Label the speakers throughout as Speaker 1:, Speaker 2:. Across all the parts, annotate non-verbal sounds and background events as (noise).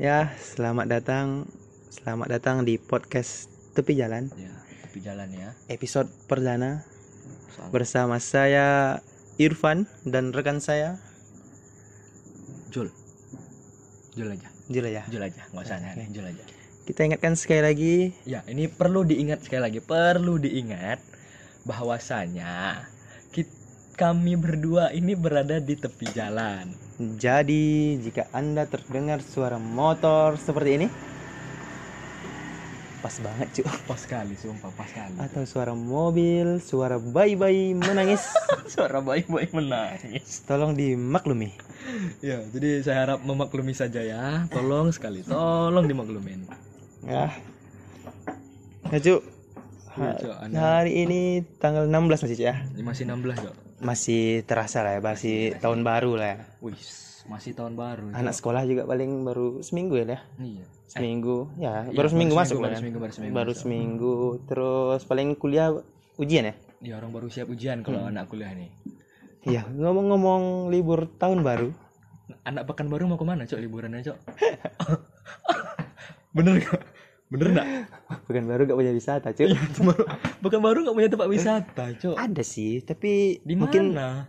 Speaker 1: Ya, selamat datang. Selamat datang di podcast Tepi Jalan,
Speaker 2: ya tepi jalan ya
Speaker 1: episode perdana
Speaker 2: soal
Speaker 1: bersama saya Irfan dan rekan saya
Speaker 2: Jul Jul aja
Speaker 1: Jula ya.
Speaker 2: Jul aja nggak usah
Speaker 1: Oke.
Speaker 2: aneh Jul aja
Speaker 1: Kita ingatkan sekali lagi,
Speaker 2: ya ini perlu diingat sekali lagi perlu diingat bahwasanya kit- kami berdua ini berada di tepi jalan
Speaker 1: jadi jika Anda terdengar suara motor seperti ini pas banget cu
Speaker 2: pas sekali sumpah pas sekali
Speaker 1: atau (laughs) suara mobil, suara bayi-bayi menangis,
Speaker 2: suara baik-baik menangis
Speaker 1: tolong dimaklumi.
Speaker 2: ya jadi saya harap memaklumi saja ya tolong sekali tolong dimaklumin
Speaker 1: Ya. Ya, cu.
Speaker 2: Ya, Cu, Anda-
Speaker 1: Hari ini tanggal 16 masih Cu, ya.
Speaker 2: ini masih 16 Jok.
Speaker 1: masih terasa lah ya masih tahun baru lah ya.
Speaker 2: Wih, masih tahun baru. Jok.
Speaker 1: anak sekolah juga paling baru seminggu ya lah.
Speaker 2: Iya.
Speaker 1: seminggu ya
Speaker 2: Iya,
Speaker 1: baru seminggu masuk
Speaker 2: baru
Speaker 1: lah ya.
Speaker 2: seminggu, baru seminggu,
Speaker 1: baru
Speaker 2: masuk.
Speaker 1: seminggu terus paling kuliah ujian ya
Speaker 2: Ya orang baru siap ujian
Speaker 1: Hmm.
Speaker 2: kalau anak kuliah nih.
Speaker 1: iya ngomong-ngomong libur tahun baru
Speaker 2: Anak pekan baru mau kemana cok liburannya cok? (laughs) bener gak? Bener gak?
Speaker 1: (laughs) bukan baru gak punya wisata cuy
Speaker 2: Iya. pekan baru gak punya tempat wisata cok.
Speaker 1: ada sih tapi
Speaker 2: Di
Speaker 1: mungkin
Speaker 2: mana?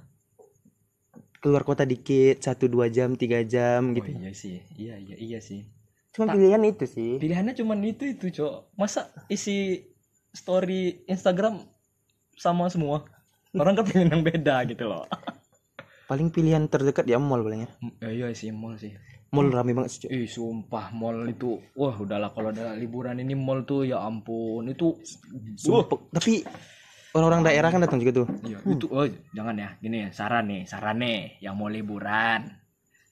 Speaker 1: keluar kota dikit satu dua jam tiga jam
Speaker 2: Oh,
Speaker 1: gitu
Speaker 2: iya sih, iya iya iya sih.
Speaker 1: cuma
Speaker 2: Tak-
Speaker 1: pilihan itu sih
Speaker 2: Pilihannya cuman itu itu cok. Masa isi story Instagram sama semua? Orang kan pengen yang beda gitu loh.
Speaker 1: paling pilihan terdekat ya mall palingnya
Speaker 2: M- ya, iya sih mall sih.
Speaker 1: mall
Speaker 2: Hmm.
Speaker 1: rame banget sih cuy
Speaker 2: Ih sumpah mall itu Wah udahlah kalau ada liburan ini mall tuh ya ampun Itu
Speaker 1: Sumpah. tapi orang-orang daerah kan datang juga tuh
Speaker 2: Iya, itu oh, jangan ya. Gini ya, saran nih, saran nih yang mau liburan.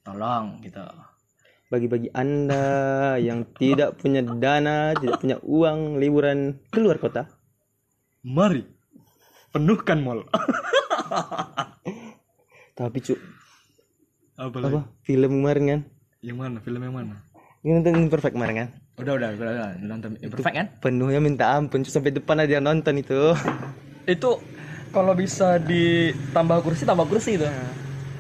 Speaker 2: Tolong gitu.
Speaker 1: bagi-bagi Anda yang tidak punya dana, tidak punya uang liburan keluar kota,
Speaker 2: Mari penuhkan mall.
Speaker 1: tapi cu,
Speaker 2: Apa lagi?
Speaker 1: apa film kemarin kan?
Speaker 2: Yang mana? Film yang mana?
Speaker 1: Ini nonton perfect kemarin kan?
Speaker 2: Udah, udah, udah, udah. nonton Imperfect kan?
Speaker 1: Penuhnya minta ampun, cu, sampai depan ada yang nonton itu.
Speaker 2: Itu kalau bisa ditambah kursi, tambah kursi itu.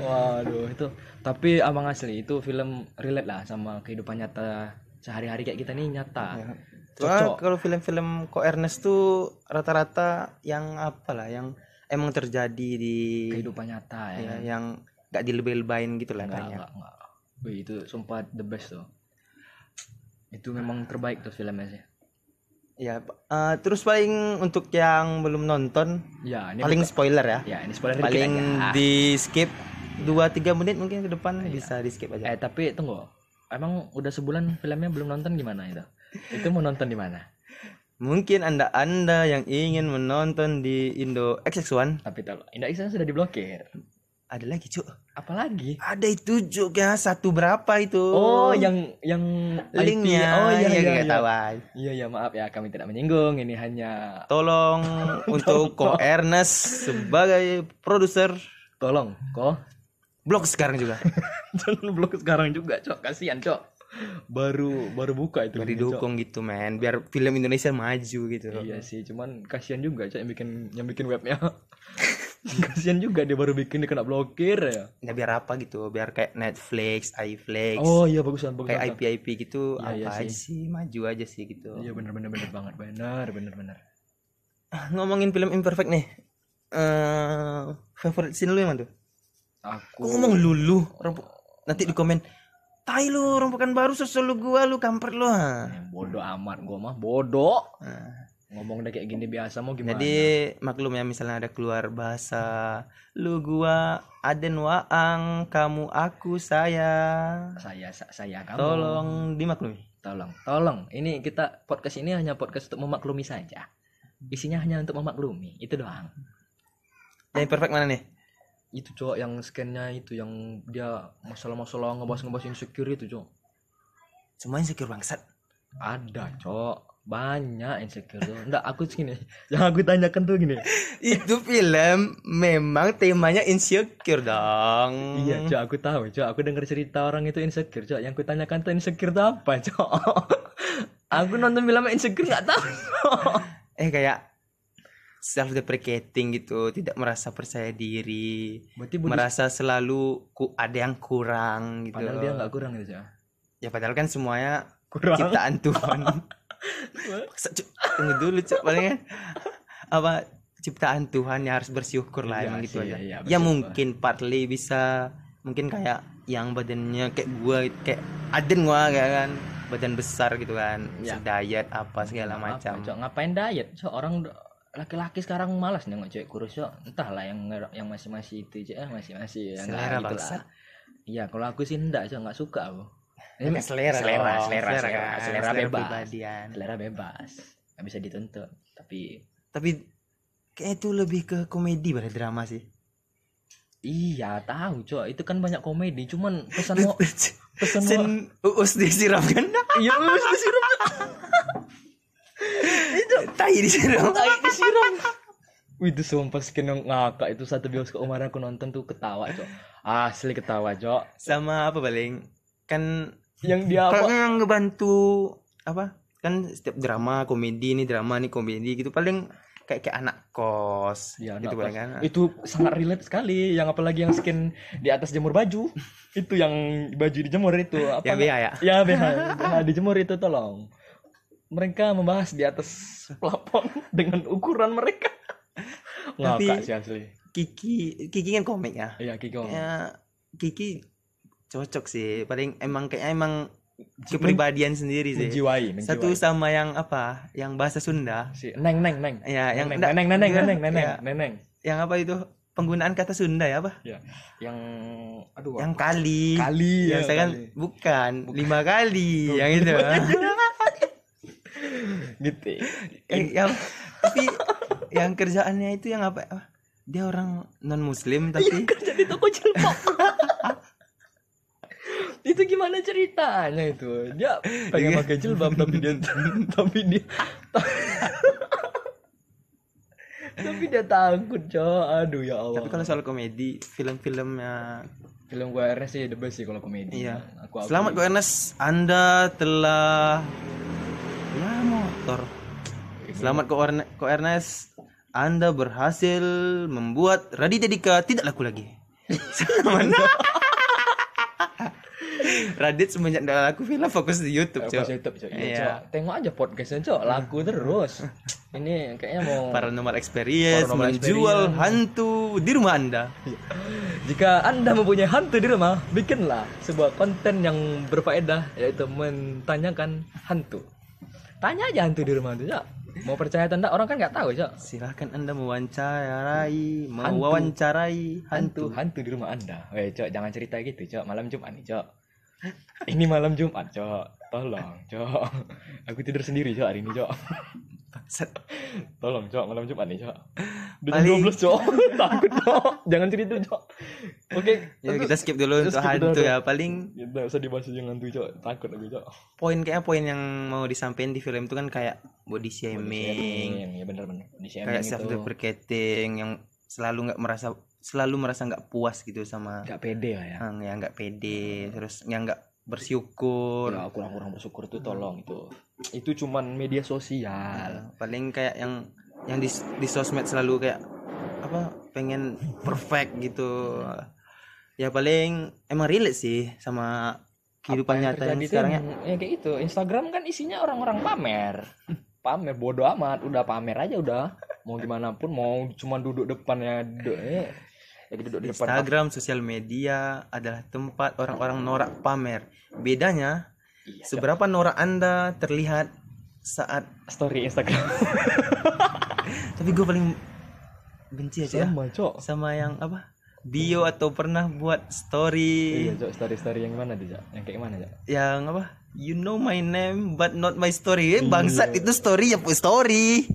Speaker 2: Waduh, itu. Tapi abang asli itu film relate lah sama kehidupan nyata sehari-hari kayak kita nih nyata.
Speaker 1: Wah,
Speaker 2: Cocok.
Speaker 1: kalau film-film Ko Ernest tuh rata-rata yang apalah yang emang terjadi di
Speaker 2: Kehidupan nyata ya.
Speaker 1: ya, yang gak dilebay-lebayin gitu lah
Speaker 2: Enggak,
Speaker 1: kayaknya.
Speaker 2: enggak, enggak. Wih, itu sumpah the best tuh. Itu memang terbaik tuh filmnya sih.
Speaker 1: Ya, eh, terus paling untuk yang belum nonton
Speaker 2: Ya, ini
Speaker 1: paling spoiler ya.
Speaker 2: ya ini spoiler dikit
Speaker 1: paling
Speaker 2: aja.
Speaker 1: di skip 2-3 menit mungkin ke depan bisa di skip aja
Speaker 2: Eh, tapi tunggu. Emang udah sebulan filmnya belum nonton gimana itu? Itu mau nonton di mana?
Speaker 1: mungkin anda anda yang ingin menonton di Indo XX1
Speaker 2: Tapi tolong, Indah Iksan sudah diblokir.
Speaker 1: ada lagi cuk
Speaker 2: Apalagi?
Speaker 1: ada itu cuk ya satu berapa itu
Speaker 2: Oh, yang yang IP.
Speaker 1: linknya ya,
Speaker 2: Oh, iya iya.
Speaker 1: nggak
Speaker 2: Iya.
Speaker 1: tahu, ay.
Speaker 2: Iya, iya, maaf ya kami tidak menyinggung. Ini hanya (laughs)
Speaker 1: tolong untuk Ko Ernest sebagai produser
Speaker 2: tolong kok (laughs)
Speaker 1: blog sekarang juga
Speaker 2: jangan blok sekarang juga, Cok. Kasihan, Cok. (laughs) Baru baru buka itu.
Speaker 1: beri
Speaker 2: linknya, Cok.
Speaker 1: dukung gitu men biar film Indonesia maju gitu loh
Speaker 2: Iya sih, cuman kasihan juga cak yang bikin yang bikin webnya. (laughs) kasihan juga dia baru bikin dia kena blokir ya.
Speaker 1: ya biar apa gitu biar kayak Netflix, iFlix
Speaker 2: Oh iya bagusan
Speaker 1: kayak
Speaker 2: bagusan.
Speaker 1: IP IP gitu
Speaker 2: Iya,
Speaker 1: apa
Speaker 2: iya
Speaker 1: aja sih maju aja sih gitu
Speaker 2: Iya bener bener bener banget bener bener bener.
Speaker 1: Ah, ngomongin film imperfect nih eh favorite scene lu yang mana tuh Kok
Speaker 2: Aku
Speaker 1: ngomong lulu nanti di komen tai lu rompokan baru susul lu gua lu kampret lu ha."
Speaker 2: Eh, bodoh amat gua mah bodoh.
Speaker 1: Nah,
Speaker 2: Ngomong udah kayak gini biasa mau gimana?
Speaker 1: jadi maklum ya misalnya ada keluar bahasa lu gua aden waang kamu aku saya
Speaker 2: saya sa- saya kamu
Speaker 1: tolong dimaklumi
Speaker 2: tolong tolong ini kita podcast ini hanya podcast untuk memaklumi saja isinya hanya untuk memaklumi itu doang
Speaker 1: yang imperfect mana nih
Speaker 2: itu cowok yang scan-nya itu yang dia masalah-masalah ngebahas-ngebahas insecure itu cowok
Speaker 1: semuanya insecure bangsat Iya.
Speaker 2: Ada, cok. Banyak insecure tuh. Enggak, aku gini. Yang aku tanyakan tuh gini.
Speaker 1: itu film memang temanya insecure dong
Speaker 2: Iya, cok. Aku tahu, cok. Aku dengar cerita orang itu insecure, cok. Yang aku tanyakan tuh insecure tuh apa, cok? (laughs) aku nonton filmnya insecure nggak tahu. Cok.
Speaker 1: eh kayak self deprecating gitu tidak merasa percaya diri
Speaker 2: Berarti body,
Speaker 1: merasa selalu ku ada yang kurang gitu
Speaker 2: padahal dia nggak kurang gitu, cok.
Speaker 1: ya padahal kan semuanya
Speaker 2: Kurang.
Speaker 1: ciptaan Tuhan Paksa, Cuk. tunggu dulu cuk paling kan apa ciptaan Tuhan ya harus bersyukur lah
Speaker 2: Iya
Speaker 1: emang gitu
Speaker 2: sih,
Speaker 1: aja
Speaker 2: iya, iya,
Speaker 1: ya
Speaker 2: bersyukur.
Speaker 1: mungkin partly bisa mungkin kayak yang badannya kayak gua kayak Aden gua kayak kan badan besar gitu kan
Speaker 2: Iya.
Speaker 1: diet apa segala
Speaker 2: Apa,
Speaker 1: macam
Speaker 2: Cok? ngapain diet Cok? orang d- laki-laki sekarang malas nengok cewek kurus Cok. entahlah yang nger- yang masih masih itu aja masih masih yang nggak
Speaker 1: Selera,
Speaker 2: gitu lah.
Speaker 1: bangsat.
Speaker 2: iya kalau aku sih enggak Cok. nggak suka aku
Speaker 1: Ya, selera
Speaker 2: selera
Speaker 1: dong,
Speaker 2: selera selera,
Speaker 1: kan,
Speaker 2: selera bebas
Speaker 1: kepribadian.
Speaker 2: selera bebas nggak bisa dituntut tapi
Speaker 1: tapi kayak itu lebih ke komedi pada drama sih
Speaker 2: iya tahu Cok. itu kan banyak komedi cuman pesan
Speaker 1: (laughs)
Speaker 2: mau pesan mau
Speaker 1: Sen uus disiram kan
Speaker 2: iya wes disiram
Speaker 1: tai disiram
Speaker 2: tai disiram Wih itu sumpah skin ngakak itu satu bioskop kemarin aku nonton tuh ketawa cok asli ketawa cok
Speaker 1: sama apa paling kan
Speaker 2: yang dia
Speaker 1: kalau
Speaker 2: apa
Speaker 1: yang ngebantu apa kan setiap drama komedi ini drama nih komedi gitu paling kayak kayak anak kos
Speaker 2: Iya,
Speaker 1: gitu
Speaker 2: anak
Speaker 1: paling
Speaker 2: kos.
Speaker 1: kan
Speaker 2: itu sangat relate sekali yang apalagi yang skin di atas jemur baju itu yang baju dijemur itu apa
Speaker 1: yang BH ya
Speaker 2: ya BH BH dijemur itu tolong mereka membahas di atas plafon (laughs) dengan ukuran mereka
Speaker 1: Tapi-
Speaker 2: ngakak sih asli
Speaker 1: Kiki Kiki kan komik ya
Speaker 2: iya Kiko
Speaker 1: ya Kiki cocok sih paling emang kayaknya emang kepribadian sendiri sih
Speaker 2: menjiwai menjiwai
Speaker 1: satu sama yang apa yang bahasa Sunda
Speaker 2: si neng neng neng
Speaker 1: ya yang
Speaker 2: neng
Speaker 1: enggak,
Speaker 2: neng neng
Speaker 1: enggak,
Speaker 2: neng neng
Speaker 1: ya,
Speaker 2: neng neng
Speaker 1: yang apa itu penggunaan kata Sunda ya apa
Speaker 2: Ya. Yang aduh.
Speaker 1: yang kali
Speaker 2: kali
Speaker 1: ya, saya kan
Speaker 2: Iya, kali. (laughs)
Speaker 1: bukan lima kali yang itu
Speaker 2: gitu.
Speaker 1: Eh, yang tapi yang kerjaannya itu yang apa ah, dia orang non muslim tapi
Speaker 2: Kerja di toko cilok. (laughs) itu gimana ceritanya itu? Dia pengen
Speaker 1: Iya.
Speaker 2: pakai jilbab tapi
Speaker 1: (laughs)
Speaker 2: dia tapi dia tapi dia takut, Cok. Aduh ya Allah.
Speaker 1: tapi kalau soal komedi film-filmnya
Speaker 2: film gua Ernest sih the best sih kalau komedi.
Speaker 1: iya
Speaker 2: Aku, aku
Speaker 1: selamat Ko Ernest Anda telah ya motor selamat Ko Erne- Ko Ernest Anda berhasil membuat Raditya Dika tidak laku lagi selamat (laughs) Radit semenjak tidak laku film fokus di YouTube
Speaker 2: Aku
Speaker 1: cok
Speaker 2: YouTube, Cok. Iya,
Speaker 1: Iya.
Speaker 2: Cok. Tengok aja podcastnya, Cok. Laku terus. Ini kayaknya mau
Speaker 1: Paranormal Experience
Speaker 2: Paranormal
Speaker 1: menjual
Speaker 2: Experience.
Speaker 1: hantu di rumah Anda.
Speaker 2: Jika Anda mempunyai hantu di rumah, bikinlah sebuah konten yang berfaedah yaitu mentanyakan hantu. Tanya aja hantu di rumah itu, Cok. Mau percaya atau enggak, orang kan nggak tahu, Cok.
Speaker 1: Silahkan Anda mewawancarai, mewawancarai hantu.
Speaker 2: Hantu, hantu di rumah Anda. Weh, Cok, jangan cerita gitu, Cok. Malam Jumat nih, Cok. Ini malam Jumat, Cok. Tolong, Cok. Aku tidur sendiri, Cok, hari ini, Cok.
Speaker 1: Bangsat.
Speaker 2: Tolong, Cok, malam Jumat nih, Cok. Udah
Speaker 1: Paling-
Speaker 2: jam 12, Cok. (laughs) Takut, Cok. Jangan cerita, Cok. Oke.
Speaker 1: Ya kita skip dulu
Speaker 2: Terus
Speaker 1: untuk
Speaker 2: skip
Speaker 1: hantu
Speaker 2: dulu.
Speaker 1: ya. Paling
Speaker 2: Kita usah dibahas yang hantu, Cok. Takut aku, Cok.
Speaker 1: poin kayaknya poin yang mau disampaikan di film itu kan kayak body shaming,
Speaker 2: Shaming, ya bener-bener. Di gitu. shaming
Speaker 1: kayak
Speaker 2: itu
Speaker 1: self deprecating yang selalu nggak merasa selalu merasa nggak puas gitu sama
Speaker 2: nggak pede lah ya.
Speaker 1: yang yang nggak pede, terus yang nggak bersyukur.
Speaker 2: Ya, kurang-kurang bersyukur tuh tolong itu. Itu cuman media
Speaker 1: Iya,
Speaker 2: sosial.
Speaker 1: paling kayak yang yang di, di sosmed selalu kayak apa pengen perfect gitu ya paling emang relate sih sama kehidupan
Speaker 2: Apa yang
Speaker 1: nyata yang
Speaker 2: terjadi tuh
Speaker 1: sekarang ya
Speaker 2: emang- ya kayak gitu. Instagram kan isinya orang-orang pamer. pamer bodoh amat, udah pamer aja udah. Mau gimana pun mau cuman duduk depannya duduk eh. Ya, duduk di depan
Speaker 1: Instagram sosial media adalah tempat orang-orang norak pamer bedanya
Speaker 2: Iya,
Speaker 1: seberapa norak anda terlihat saat
Speaker 2: story Instagram.
Speaker 1: tapi gue paling benci aja ya
Speaker 2: Sama, Iya, Cok.
Speaker 1: sama yang apa bio atau pernah buat story
Speaker 2: Iya, Cok, story-story yang mana tuh, Cok? Yang kayak mana, Cok?
Speaker 1: yang apa you know my name but not my story Eh, bangsat itu story ya pu- story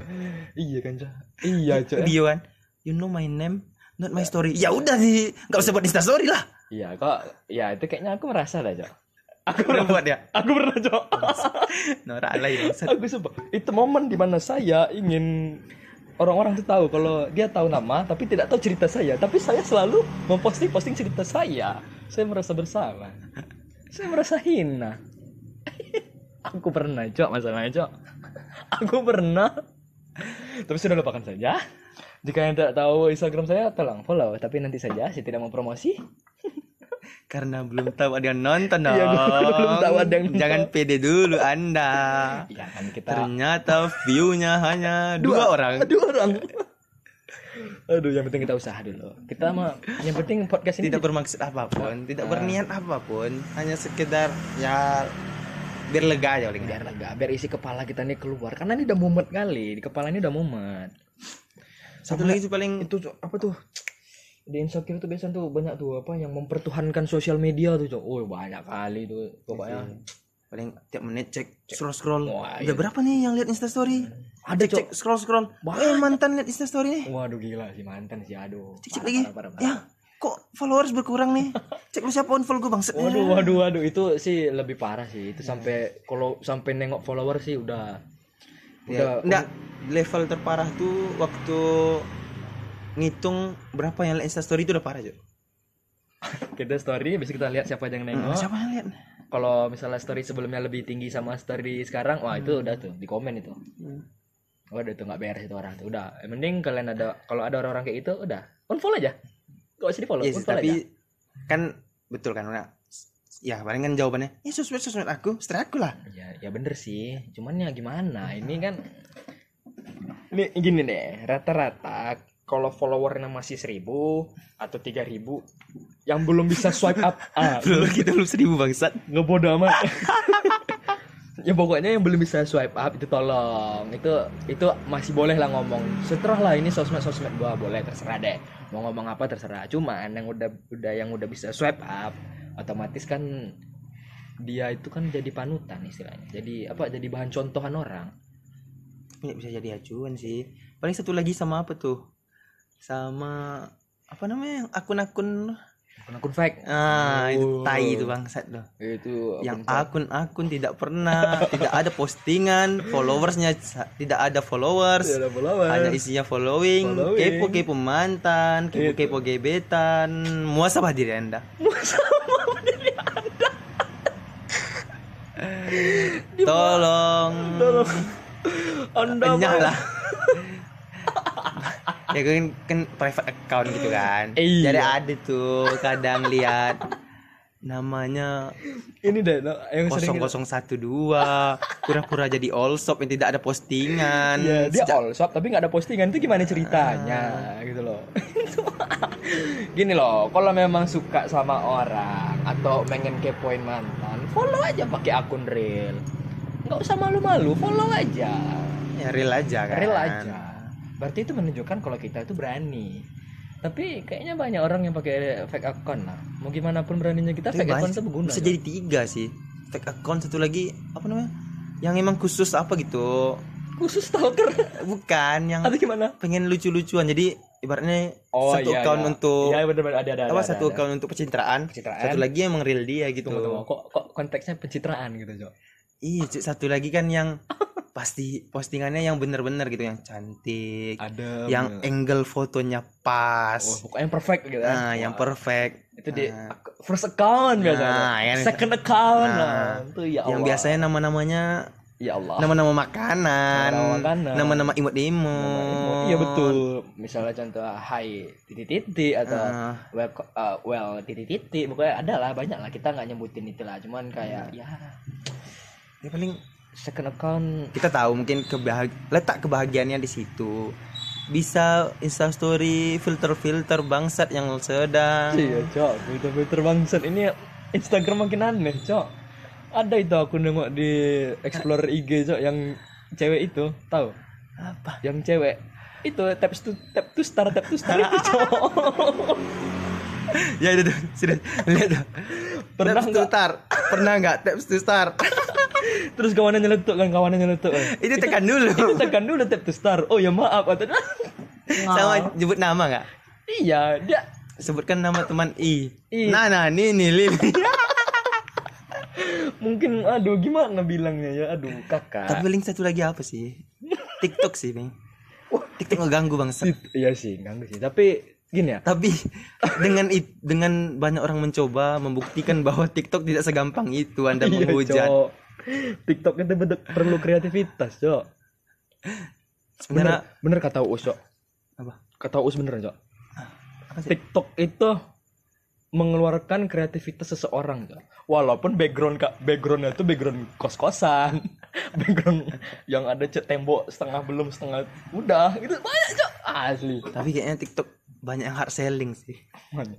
Speaker 2: Iya kan, Cok? Iya, Cok.
Speaker 1: dia kan you know my name not my story ya udah sih nggak usah buat insta story lah
Speaker 2: Iya, kok ya itu kayaknya aku merasa dah, Cok. Aku
Speaker 1: udah buat ya
Speaker 2: Aku pernah cok.
Speaker 1: norak lah ya bangsat
Speaker 2: Aku sumpah. Itu momen dimana saya ingin orang-orang tuh tahu kalau dia tahu nama tapi tidak tahu cerita saya. Tapi saya selalu memposting posting cerita saya. Saya merasa bersalah. Saya merasa hina. (laughs) Aku pernah cok masalahnya cok. Aku pernah. Tapi sudah lupakan saja. Jika yang tidak tahu Instagram saya, tolong follow. Tapi nanti saja, saya tidak mau promosi.
Speaker 1: Karena belum tahu ada yang nonton dong.
Speaker 2: Iya, belum tahu ada yang nonton.
Speaker 1: Jangan pede dulu Anda.
Speaker 2: ya kan kita
Speaker 1: Ternyata view-nya hanya dua, orang.
Speaker 2: dua orang Iya, aduh yang penting kita usaha dulu kita mah yang penting podcast ini
Speaker 1: Tidak bermaksud apapun,
Speaker 2: Nah.
Speaker 1: tidak berniat apapun, hanya sekedar ya biar lega aja paling
Speaker 2: biar lega biar isi kepala kita nih keluar karena ini udah mumet kali di kepala ini udah mumet
Speaker 1: Satu lagi sih paling
Speaker 2: itu Cok, apa tuh di insecure tuh biasanya tuh banyak tuh apa yang mempertuhankan sosial media tuh Cok. oh banyak kali tuh
Speaker 1: Iya,
Speaker 2: pokoknya
Speaker 1: paling tiap menit cek scroll scroll.
Speaker 2: Wah, iya.
Speaker 1: Udah berapa nih yang lihat instastory?
Speaker 2: ada
Speaker 1: Cek cek
Speaker 2: cok
Speaker 1: scroll scroll. Eh mantan lihat instastory nih.
Speaker 2: waduh gila si mantan sih aduh
Speaker 1: Cek cek iya.
Speaker 2: Parah,
Speaker 1: lagi.
Speaker 2: parah, parah,
Speaker 1: Ya
Speaker 2: parah.
Speaker 1: kok followers berkurang
Speaker 2: (laughs)
Speaker 1: nih? Cek lu siapa unfollow Ya. gue bangset.
Speaker 2: waduh waduh waduh itu sih lebih parah sih itu sampai kalau sampai nengok follower sih udah
Speaker 1: Ya,
Speaker 2: udah
Speaker 1: enggak, level terparah tuh waktu ngitung berapa yang lihat instastory itu udah parah, Jo.
Speaker 2: kita story bisa kita lihat siapa aja yang nengok
Speaker 1: Mm, Siapa yang lihat?
Speaker 2: kalau misalnya story sebelumnya lebih tinggi sama story sekarang wah itu udah tuh di komen itu Waduh tuh nggak beres itu orang tuh. Udah, yang mending kalian ada kalau ada orang-orang kayak gitu udah unfollow aja. Gak usah di follow,
Speaker 1: Iya sih,
Speaker 2: unfollow
Speaker 1: tapi
Speaker 2: aja.
Speaker 1: kan betul kan, Una? Ya, paling kan jawabannya, ya sosmed sosmed aku, setelah
Speaker 2: (laughs)
Speaker 1: aku lah.
Speaker 2: Ya, ya bener sih. Cuman ya gimana? Ini kan ini gini deh, rata-rata kalau followernya masih seribu atau tiga ribu yang belum bisa swipe up ah
Speaker 1: Belum (laughs) kita belum seribu bangsat.
Speaker 2: ngebodoh amat (laughs) ya pokoknya yang belum bisa swipe up itu tolong itu itu masih boleh lah ngomong setelah lah ini sosmed sosmed gua boleh terserah deh mau ngomong apa terserah cuman yang udah udah yang udah bisa swipe up otomatis kan dia itu kan jadi panutan istilahnya jadi apa jadi bahan contohan orang
Speaker 1: Tapi nggak Iya, bisa jadi acuan sih. Paling satu lagi sama apa tuh? Sama apa namanya yang akun-akun
Speaker 2: akun fake
Speaker 1: ah itu
Speaker 2: Oh.
Speaker 1: tai itu bangsat loh
Speaker 2: itu
Speaker 1: yang
Speaker 2: akun fake.
Speaker 1: akun-akun tidak pernah tidak ada postingan followersnya sa- tidak ada followers
Speaker 2: Tidak ada followers.
Speaker 1: hanya isinya following,
Speaker 2: Iya. Following. Iya,
Speaker 1: kepo kepo mantan kepo kepo gebetan muasabah diri anda tolong
Speaker 2: Anda
Speaker 1: enyah lah (laughs) ya kan kan private account gitu kan
Speaker 2: Iya.
Speaker 1: jadi ada tuh kadang lihat namanya
Speaker 2: ini deh no, yang sering
Speaker 1: 0012 pura-pura jadi all shop yang tidak ada postingan
Speaker 2: Iya, dia all shop tapi nggak ada postingan itu gimana ceritanya
Speaker 1: Ah.
Speaker 2: gitu loh. (laughs) Gini loh, kalau memang suka sama orang atau pengen kepoin mantan, follow aja pakai akun real. Nggak usah malu-malu, follow aja.
Speaker 1: ya real aja kan
Speaker 2: Real aja. Berarti itu menunjukkan kalau kita itu berani. Tapi kayaknya banyak orang yang pakai fake account lah. Mau gimana pun beraninya kita
Speaker 1: Tapi
Speaker 2: fake account
Speaker 1: banyak-
Speaker 2: itu berguna. kan?
Speaker 1: bisa
Speaker 2: loh.
Speaker 1: jadi tiga sih fake account satu lagi apa namanya yang emang khusus apa gitu
Speaker 2: ya. khusus stalker (laughs)
Speaker 1: bukan yang
Speaker 2: atau gimana?
Speaker 1: pengen lucu-lucuan jadi ibaratnya satu
Speaker 2: iya,
Speaker 1: account
Speaker 2: iya.
Speaker 1: untuk
Speaker 2: Iya, benar-benar ada ada.
Speaker 1: Oh. apa
Speaker 2: ada,
Speaker 1: satu
Speaker 2: ada.
Speaker 1: account untuk pencitraan,
Speaker 2: Pencitraan.
Speaker 1: satu lagi emang real dia gitu
Speaker 2: Tunggu, tunggu. Kok, kok konteksnya pencitraan gitu, Cok?
Speaker 1: iya cuy, satu lagi kan
Speaker 2: (laughs)
Speaker 1: yang pasti postingannya yang bener-bener gitu yang cantik
Speaker 2: Ada.
Speaker 1: yang angle fotonya pas
Speaker 2: gitu. Oh, pokoknya yang perfect gitu. ya.
Speaker 1: nah yang perfect
Speaker 2: Itu di
Speaker 1: Nah.
Speaker 2: ak- first account biasanya.
Speaker 1: Nah, yang-
Speaker 2: Second account.
Speaker 1: Nah.
Speaker 2: Nah, itu ya Allah.
Speaker 1: yang biasanya nama-namanya
Speaker 2: ya Allah.
Speaker 1: nama-nama makanan
Speaker 2: Nama-nama makanan.
Speaker 1: nama-nama imut-imut
Speaker 2: nah, Iya betul. Misalnya contoh hai titik titik atau
Speaker 1: Ah.
Speaker 2: well co- uh, well titik titik pokoknya ada lah banyak lah kita nggak nyebutin itu lah cuman kayak ya
Speaker 1: ya paling
Speaker 2: second account
Speaker 1: kita tahu mungkin kebahag letak kebahagiaannya di situ bisa instastory filter-filter bangsat yang sedang
Speaker 2: Iya cok, filter-filter bangsat ini Instagram makin aneh cok Ada itu aku nengok di Explorer IG cok yang cewek itu tahu
Speaker 1: apa
Speaker 2: Yang cewek itu tap to tap to star tap to star itu cok
Speaker 1: (laughs) ya itu tuh sudah lihat tuh
Speaker 2: Pernah
Speaker 1: Taps to star pernah nggak taps to star
Speaker 2: Terus kawannya nyeletuk kan kawannya nyeletuk kan
Speaker 1: (laughs) itu tekan dulu
Speaker 2: Itu tekan dulu tap to star Oh ya maaf atau
Speaker 1: sama nyebut nama nggak
Speaker 2: (laughs) Iya dia
Speaker 1: sebutkan nama teman I,
Speaker 2: I.
Speaker 1: nah nah Nini Lili
Speaker 2: mungkin aduh gimana bilangnya ya aduh kakak
Speaker 1: (laughs) tapi paling satu lagi apa sih TikTok sih Bang TikTok ngeganggu bangsa
Speaker 2: Iya sih ganggu sih tapi gini ya
Speaker 1: tapi dengan it- dengan banyak orang mencoba membuktikan bahwa TikTok tidak segampang itu (laughs) Anda
Speaker 2: Iya,
Speaker 1: menghujat.
Speaker 2: Cok. TikTok itu bentuk perlu kreativitas, Cok. Bener,
Speaker 1: Sebenarnya
Speaker 2: bener kata Uus, Cok.
Speaker 1: apa?
Speaker 2: Kata Uus bener, Cok.
Speaker 1: Apa sih?
Speaker 2: TikTok itu mengeluarkan kreativitas seseorang tuh. Walaupun background ka- backgroundnya tuh background kos-kosan, (laughs) background yang ada cat tembok setengah belum setengah udah itu banyak cok asli.
Speaker 1: Tapi kayaknya TikTok banyak yang hard selling sih.
Speaker 2: Mana?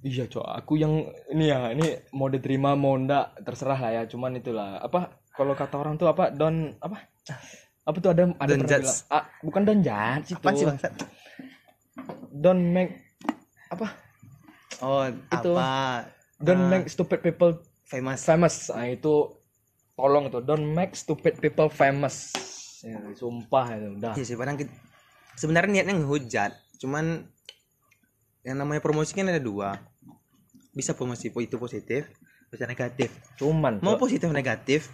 Speaker 2: Iya cok, aku yang ini ya ini mau diterima mau ndak terserah lah ya. Cuman itulah apa kalau kata orang tuh apa don apa apa tuh ada ada
Speaker 1: Don't
Speaker 2: pernah
Speaker 1: judge.
Speaker 2: bilang- ah, bukan don judge itu.
Speaker 1: Apaan sih bangsat?
Speaker 2: Don't make apa
Speaker 1: Oh,
Speaker 2: Itu.
Speaker 1: apa? Ah.
Speaker 2: don't make stupid people
Speaker 1: Famous.
Speaker 2: famous. Nah, itu tolong tuh don't make stupid people famous. Ya, sumpah itu udah.
Speaker 1: Iya sih, padahal kita- sebenarnya niatnya ngehujat, cuman yang namanya promosi kan ada dua. Bisa promosi po- itu positif, bisa negatif.
Speaker 2: Cuman
Speaker 1: Mau
Speaker 2: tuh,
Speaker 1: positif negatif,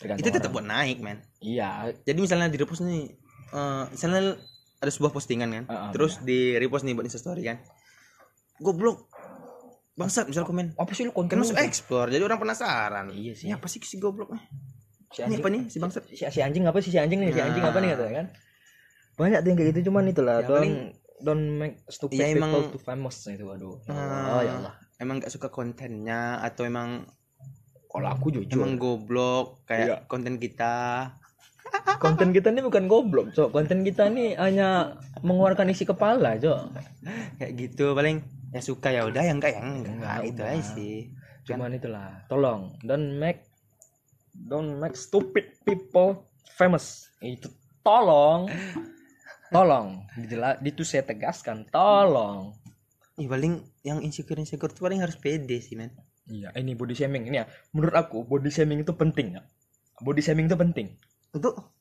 Speaker 2: tergantung
Speaker 1: itu tetap
Speaker 2: orang.
Speaker 1: buat naik, men.
Speaker 2: Iya,
Speaker 1: Jadi misalnya di repost nih, eh, misalnya ada sebuah postingan kan,
Speaker 2: Ah, ah,
Speaker 1: terus di repost nih buat instastory kan. Goblok. Bangsat misal komen.
Speaker 2: apa sih lu
Speaker 1: Kan
Speaker 2: konten
Speaker 1: masuk
Speaker 2: lu?
Speaker 1: explore, jadi orang penasaran.
Speaker 2: Iya sih.
Speaker 1: Ini apa sih si goblok? eh? Ini
Speaker 2: Si anjing-
Speaker 1: apa nih si bangsat?
Speaker 2: si, si anjing apa sih si anjing nih si anjing apa nih katanya kan banyak tuh yang kayak gitu cuman itulah
Speaker 1: Ya,
Speaker 2: don't
Speaker 1: paling-
Speaker 2: don't make stupid
Speaker 1: Ya, emang-
Speaker 2: people too famous itu aduh ya Allah,
Speaker 1: Ah.
Speaker 2: ya Allah
Speaker 1: Emang gak suka kontennya atau emang
Speaker 2: kalau aku jujur
Speaker 1: emang goblok kayak
Speaker 2: Iya.
Speaker 1: konten kita
Speaker 2: konten kita ini bukan goblok cok konten kita ini hanya mengeluarkan isi kepala cok
Speaker 1: kayak gitu paling yang suka ya udah yang enggak yang enggak,
Speaker 2: Enggak,
Speaker 1: itu
Speaker 2: udah.
Speaker 1: aja sih
Speaker 2: cuman itulah tolong don't make don't make stupid people famous itu tolong tolong dijela itu saya tegaskan tolong
Speaker 1: Ih, paling yang insecure insecure tuh paling harus pede sih men
Speaker 2: Iya, ini body shaming ini ya. Menurut aku body shaming itu penting ya. Body shaming itu penting
Speaker 1: untuk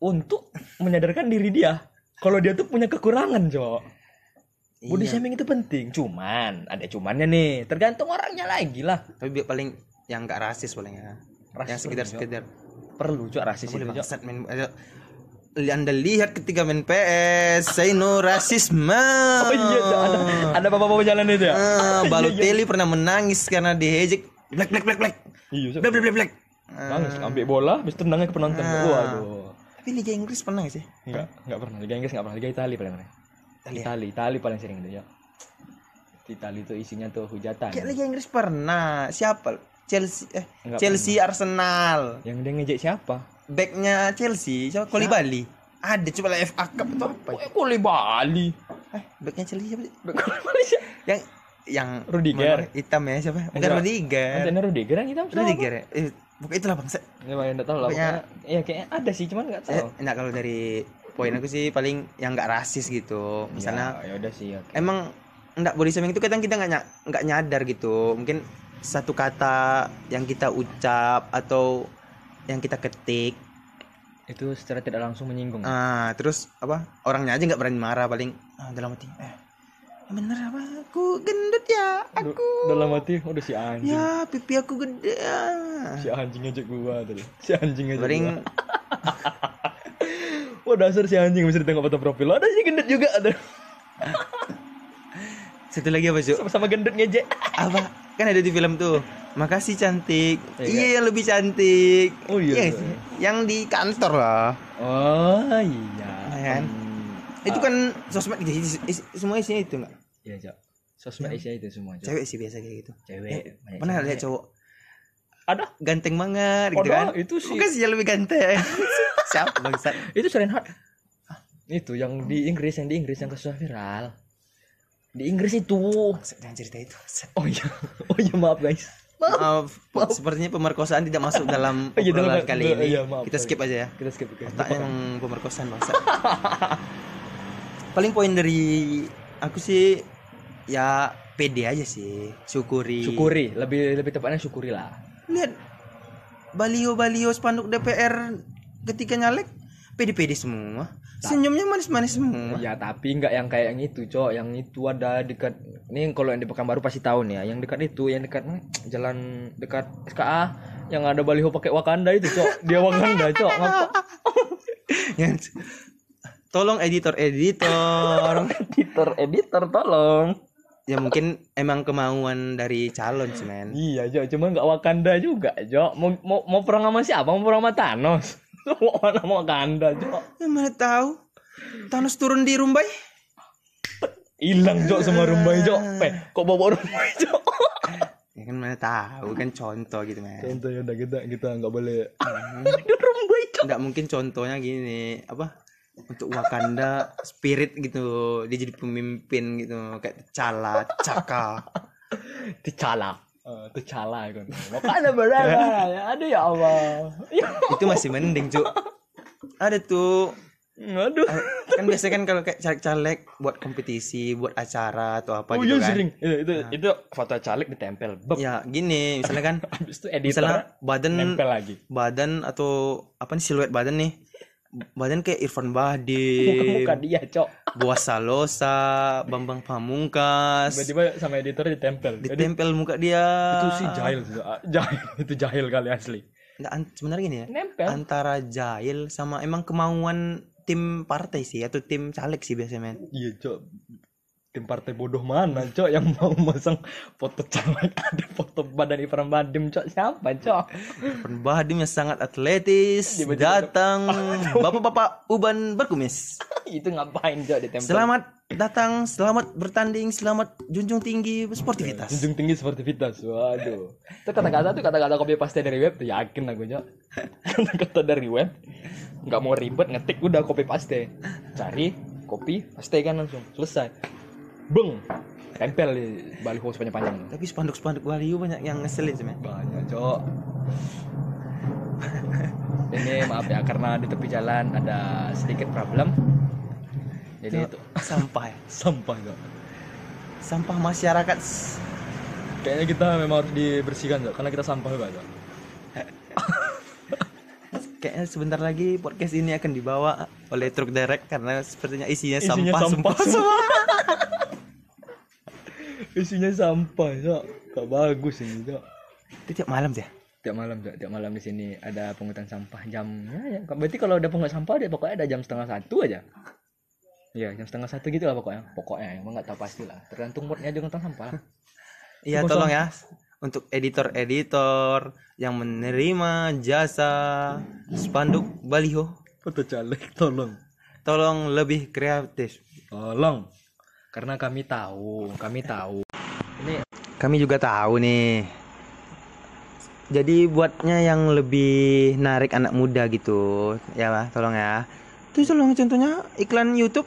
Speaker 2: untuk menyadarkan diri dia kalau dia tuh punya kekurangan, Jo. Body
Speaker 1: iya.
Speaker 2: shaming itu penting, cuman ada cumannya nih. Tergantung orangnya lagi lah.
Speaker 1: tapi bi- paling yang enggak rasis paling ya
Speaker 2: Rasis ya.
Speaker 1: yang sekedar
Speaker 2: perlu, Jo.
Speaker 1: sekedar
Speaker 2: perlu, Jo, rasis
Speaker 1: boleh
Speaker 2: itu, Jo.
Speaker 1: bangsat men Ayo. anda lihat ketika main PS saya no rasisme
Speaker 2: Oh iya, Jo, ada ada bapak-bapak jalan itu (laughs) ya.
Speaker 1: Ah, Balotelli pernah menangis karena dihejek black black black black
Speaker 2: Iya, Jo.
Speaker 1: black black black, black.
Speaker 2: Nangis, ambil bola, habis tendangnya ke penonton.
Speaker 1: "Eh, Ah.
Speaker 2: Waduh.
Speaker 1: tapi Liga Inggris pernah nggak sih
Speaker 2: Enggak, enggak pernah. Liga Inggris enggak pernah. Liga Italia paling pernah.
Speaker 1: Italia.
Speaker 2: Italia, Italia paling sering itu, Jo. Italia itu isinya tuh hujatan.
Speaker 1: Kayak Liga Inggris pernah. Siapa? Chelsea eh
Speaker 2: Nggak
Speaker 1: Chelsea Arsenal.
Speaker 2: Yang dia ngejek siapa?
Speaker 1: Backnya Chelsea, siapa? Kolibali. Ada coba lah FA Cup atau apa? ya?
Speaker 2: Kok Kuli Bali.
Speaker 1: Eh, backnya Chelsea siapa? sih?
Speaker 2: Kuli Bali siapa?
Speaker 1: Yang yang
Speaker 2: Rudiger.
Speaker 1: mana- hitam ya siapa? Bukan
Speaker 2: Enggak.
Speaker 1: Rudiger.
Speaker 2: Antena Rudiger yang hitam siapa?
Speaker 1: Eh. Rudiger ya. Eh, pokoknya itulah bangsa.
Speaker 2: Ya, Bang, nggak tahu lah.
Speaker 1: Pokoknya-
Speaker 2: Pokoknya- Iya, kayaknya ada sih, cuman nggak
Speaker 1: Saya
Speaker 2: tahu.
Speaker 1: enggak kalau dari poin aku sih paling yang enggak rasis gitu. Misalnya
Speaker 2: ya, ya udah sih. Ya.
Speaker 1: emang enggak body shaming itu kadang kita enggak nya- enggak nyadar gitu. Mungkin satu kata yang kita ucap atau yang kita ketik
Speaker 2: Itu secara tidak langsung menyinggung.
Speaker 1: Ah, terus apa? Orangnya aja nggak berani marah paling ah, dalam hati. Eh, yang bener apa? Aku gendut ya.
Speaker 2: Du-
Speaker 1: Aku
Speaker 2: Dalam hati udah si anjing.
Speaker 1: ya pipi aku gede. ah."
Speaker 2: Si anjing ngejek gua tadi. Si anjing ngejek. gua.
Speaker 1: Paling
Speaker 2: Wah, dasar si anjing bisa ditengok foto profil. Ada si gendut juga ada.
Speaker 1: satu lagi apa, Cuk?
Speaker 2: Sama-sama gendut ngejek.
Speaker 1: Apa? Kan ada di film tuh. Makasih cantik.
Speaker 2: Iya.
Speaker 1: Iya, yang lebih cantik.
Speaker 2: Oh, iya.
Speaker 1: nggak sih? Yang di kantor lah.
Speaker 2: Oh, iya.
Speaker 1: Ya kan?
Speaker 2: Hmm.
Speaker 1: Itu kan sosmed isi- isi- isi- semua isinya itu enggak?
Speaker 2: Iya, Cok. Sosmed Asia itu semua, Cok.
Speaker 1: Cewek sih biasa kayak gitu.
Speaker 2: Cewek. banyak
Speaker 1: Pernah
Speaker 2: cewek.
Speaker 1: lihat cowok
Speaker 2: Ada.
Speaker 1: ganteng banget gitu kan?
Speaker 2: Padahal itu sih.
Speaker 1: Makasih yang lebih
Speaker 2: (laughs)
Speaker 1: ganteng. Siapa bangsat?
Speaker 2: Itu Serenhard. Itu yang di Inggris, yang di Inggris yang kasusnya viral. Di Inggris itu.
Speaker 1: Bangsat, Jangan cerita itu. bangsat.
Speaker 2: Oh iya. (laughs) Oh iya maaf guys.
Speaker 1: Maaf, sepertinya pemerkosaan tidak masuk dalam
Speaker 2: (laughs) Iya, dalam-
Speaker 1: obrolan kali ini.
Speaker 2: iya, maaf.
Speaker 1: Kita skip aja ya.
Speaker 2: Kita skip guys.
Speaker 1: Otaknya emang pemerkosaan bangsa. Paling poin dari aku sih ya pede aja sih, syukuri.
Speaker 2: Syukuri, lebih lebih tepatnya syukuri lah.
Speaker 1: Lihat balio-balio spanduk DPR ketika nyalek pede-pede semua. Senyumnya manis-manis semua.
Speaker 2: Ya tapi nggak yang kayak yang itu, Cok. Yang itu ada dekat ini kalau yang di Pekanbaru pasti tahu nih ya. Yang dekat itu, yang dekat mana? jalan dekat SKA yang ada baliho pakai Wakanda itu, Cok. Dia Wakanda, (laughs) Cok. Ngapa?
Speaker 1: (laughs) Yang- Tolong editor-editor.
Speaker 2: (laughs) Editor, editor tolong.
Speaker 1: ya mungkin emang kemauan dari calon sih, men.
Speaker 2: Iya, Jo, cuman nggak Wakanda juga, Jo. Mau, mau, mau perang sama siapa? Mau perang sama Thanos. (laughs) mau perang sama Wakanda, Jo.
Speaker 1: Ya, mana tahu Thanos turun di Rumbai
Speaker 2: hilang jok semua rumah jok Peh, Eh, kok bawa rumah jok
Speaker 1: Ya kan mana tahu kan contoh gitu men.
Speaker 2: contohnya udah kita kita nggak boleh (laughs) ada rumah jok
Speaker 1: Enggak mungkin contohnya gini, apa? Untuk Wakanda spirit gitu, dia jadi pemimpin gitu, kayak T'Challa, Caka.
Speaker 2: T'Challa
Speaker 1: Oh,
Speaker 2: Eh, T'Challa kan makanya berapa aduh ya allah ya
Speaker 1: Itu masih mending, Cuk. Ada tuh
Speaker 2: aduh
Speaker 1: kan biasanya kan kalau kayak caleg-caleg buat kompetisi, buat acara atau apa
Speaker 2: oh
Speaker 1: gitu
Speaker 2: iya
Speaker 1: kan.
Speaker 2: sering itu itu, itu foto caleg ditempel beb
Speaker 1: Ya, gini, misalnya kan
Speaker 2: habis itu editor
Speaker 1: misalnya badan
Speaker 2: nempel lagi
Speaker 1: badan atau apa nih siluet badan nih. Badan kayak Irfan
Speaker 2: muka
Speaker 1: Bahdim,
Speaker 2: muka dia cok
Speaker 1: Boas Salosa, Bambang Pamungkas,
Speaker 2: tiba-tiba sama editor ditempel Jadi,
Speaker 1: ditempel muka dia.
Speaker 2: itu sih jahil sih, ah, jahil (laughs) itu jahil kali asli
Speaker 1: Nggak, an- sebenarnya gini ya.
Speaker 2: nempel
Speaker 1: Antara jahil sama emang kemauan tim partai sih atau tim caleg sih biasanya men.
Speaker 2: Iya cok Tim partai bodoh mana cok yang mau masang foto caleg (laughs) ada foto badan Ifram Badim cok siapa cok Hmm.
Speaker 1: Irfan Bahdim yang sangat atletis
Speaker 2: (laughs)
Speaker 1: datang bapak-bapak uban berkumis.
Speaker 2: itu ngapain cok ditempel
Speaker 1: Selamat datang, selamat bertanding, selamat junjung tinggi sportivitas.
Speaker 2: Junjung tinggi sportivitas waduh itu kata-kata tuh kata-kata copy paste dari web tuh yakin aku (laughs) cok kata-kata dari web nggak mau ribet ngetik udah copy paste cari copy paste kan langsung selesai beng tempel di baliho sepanjang-panjang
Speaker 1: Tapi spanduk-spanduk Wahyu banyak yang ngeselin sih men.
Speaker 2: banyak cok (laughs) ini maaf ya karena di tepi jalan ada sedikit problem jadi itu
Speaker 1: Sampah ya.
Speaker 2: sampah cok
Speaker 1: Sampah masyarakat. s-
Speaker 2: kayaknya kita memang harus dibersihkan cok karena kita sampah banget cok
Speaker 1: Kayaknya sebentar lagi podcast ini akan dibawa oleh truk derek karena sepertinya isinya,
Speaker 2: Isinya
Speaker 1: sampah,
Speaker 2: sampah (laughs)
Speaker 1: semua.
Speaker 2: isinya sampah cok gak bagus ini cok
Speaker 1: Itu tiap malam sih. ya?
Speaker 2: tiap malam cok tiap malam di sini ada pungutan sampah jamnya ya berarti kalau ada pungut sampah dia pokoknya ada jam setengah satu aja Iya, jam setengah satu gitu lah pokoknya. Pokoknya, emang nggak tahu pasti lah. Tergantung moodnya juga tentang sampah (laughs) lah.
Speaker 1: Iya
Speaker 2: Kosong.
Speaker 1: tolong ya untuk editor-editor yang menerima jasa spanduk baliho
Speaker 2: Foto caleg, tolong.
Speaker 1: tolong lebih kreatif.
Speaker 2: Tolong. Karena kami tahu, kami tahu. Ini
Speaker 1: Kami juga tahu nih. Jadi buatnya yang lebih narik anak muda gitu, ya lah, tolong ya. Itu tolong contohnya iklan YouTube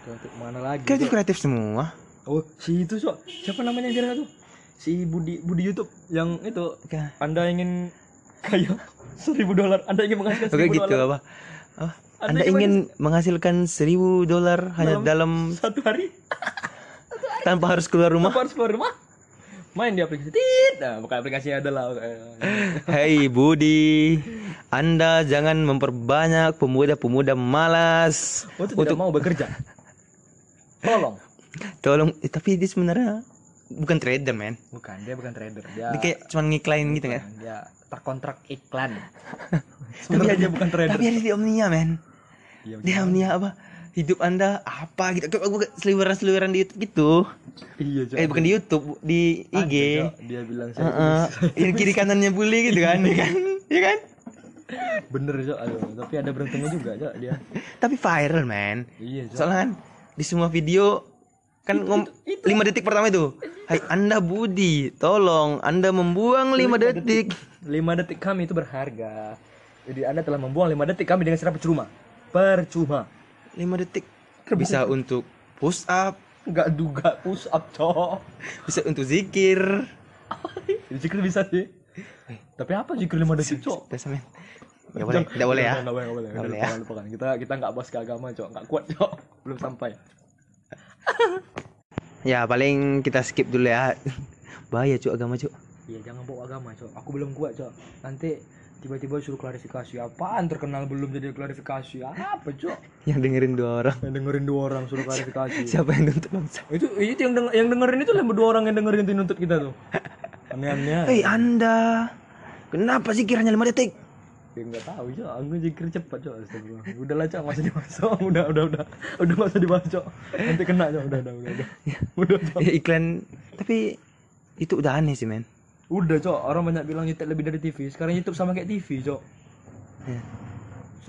Speaker 2: kreatif mana lagi?
Speaker 1: kreatif
Speaker 2: Cok?
Speaker 1: kreatif semua.
Speaker 2: Oh, si itu, Cok. Siapa namanya yang viral itu? Si Budi Budi YouTube yang itu
Speaker 1: Oke,
Speaker 2: Anda ingin kaya seribu dolar, Anda ingin menghasilkan
Speaker 1: Oke
Speaker 2: seribu
Speaker 1: gitu
Speaker 2: dolar
Speaker 1: apa? Apa?
Speaker 2: Anda
Speaker 1: Anda
Speaker 2: gimana
Speaker 1: ingin menghasilkan 1000 dolar hanya dalam
Speaker 2: satu hari?
Speaker 1: tanpa harus keluar rumah?
Speaker 2: Apa harus keluar rumah? Main di aplikasi. Tit. Nah, bukan aplikasinya adalah
Speaker 1: Hei Budi, Anda jangan memperbanyak pemuda-pemuda malas.
Speaker 2: untuk Oh, tidak mau bekerja. Tolong.
Speaker 1: Tolong, eh, tapi dia sebenarnya bukan trader men.
Speaker 2: Bukan, dia bukan trader. Dia
Speaker 1: Dia kayak cuman ngiklain gitu ya.
Speaker 2: dia terkontrak iklan.
Speaker 1: Tapi
Speaker 2: Sebenarnya
Speaker 1: ada-
Speaker 2: dia bukan trader.
Speaker 1: Tapi ada di Omnia men.
Speaker 2: Iya,
Speaker 1: Di Omnia apa? Hidup Anda apa gitu? Kayak gue seliweran-seliweran di YouTube gitu.
Speaker 2: Iya, Cok.
Speaker 1: Eh bukan di YouTube, di
Speaker 2: Ada,
Speaker 1: IG.
Speaker 2: Cok. Dia bilang saya
Speaker 1: Heeh. (laughs) Yang kiri kanannya bully gitu kan, ya (laughs) kan? Ya kan?
Speaker 2: bener, Cok. Aduh, tapi ada beruntungnya juga, Cok, dia.
Speaker 1: Tapi viral men.
Speaker 2: Iya, Cok.
Speaker 1: Soalnya kan di semua video kan ngom 5 detik pertama itu. Hai Anda Budi, tolong Anda membuang 5 detik.
Speaker 2: 5 detik kami itu berharga. Jadi Anda telah membuang 5 detik kami dengan cara percuma. Percuma.
Speaker 1: 5 detik bisa untuk push up,
Speaker 2: Enggak duga push up, Cok.
Speaker 1: bisa untuk zikir.
Speaker 2: Zikir bisa sih. Eh, Tapi apa zikir 5 detik, Cok?
Speaker 1: Biasa men. Nggak boleh, tidak boleh ya.
Speaker 2: Enggak boleh, enggak boleh.
Speaker 1: Nggak
Speaker 2: Udah,
Speaker 1: boleh ya.
Speaker 2: lupakan, lupakan. Kita kita enggak bahas ke agama, Cok. Enggak kuat, Cok. Belum sampai.
Speaker 1: Ya paling kita skip dulu ya. (laughs) Bahaya cuy agama cuy.
Speaker 2: Iya jangan bawa agama cok. Aku belum kuat cok. Nanti tiba-tiba suruh klarifikasi apaan terkenal belum jadi klarifikasi apa cok?
Speaker 1: Yang dengerin dua orang.
Speaker 2: Yang dengerin dua orang suruh klarifikasi.
Speaker 1: Siapa yang nuntut bangsa?
Speaker 2: itu itu yang deng- yang dengerin itu lah dua orang yang dengerin itu nuntut kita tuh. Aneh-aneh.
Speaker 1: Hei Anda, kenapa zikir hanya 5 detik?
Speaker 2: Ya nggak tahu cok. Aku zikir cepat cok. Astagfirullah. Udahlah cok nggak usah dibahas cok. Udah udah udah udah nggak usah dibahas cok. Nanti kena cok. Udah udah udah udah. Udah cok.
Speaker 1: Ya, iklan tapi itu udah aneh sih men. Iya.
Speaker 2: Udah cok. Orang banyak bilang YouTube lebih dari TV. Sekarang YouTube sama kayak TV cok.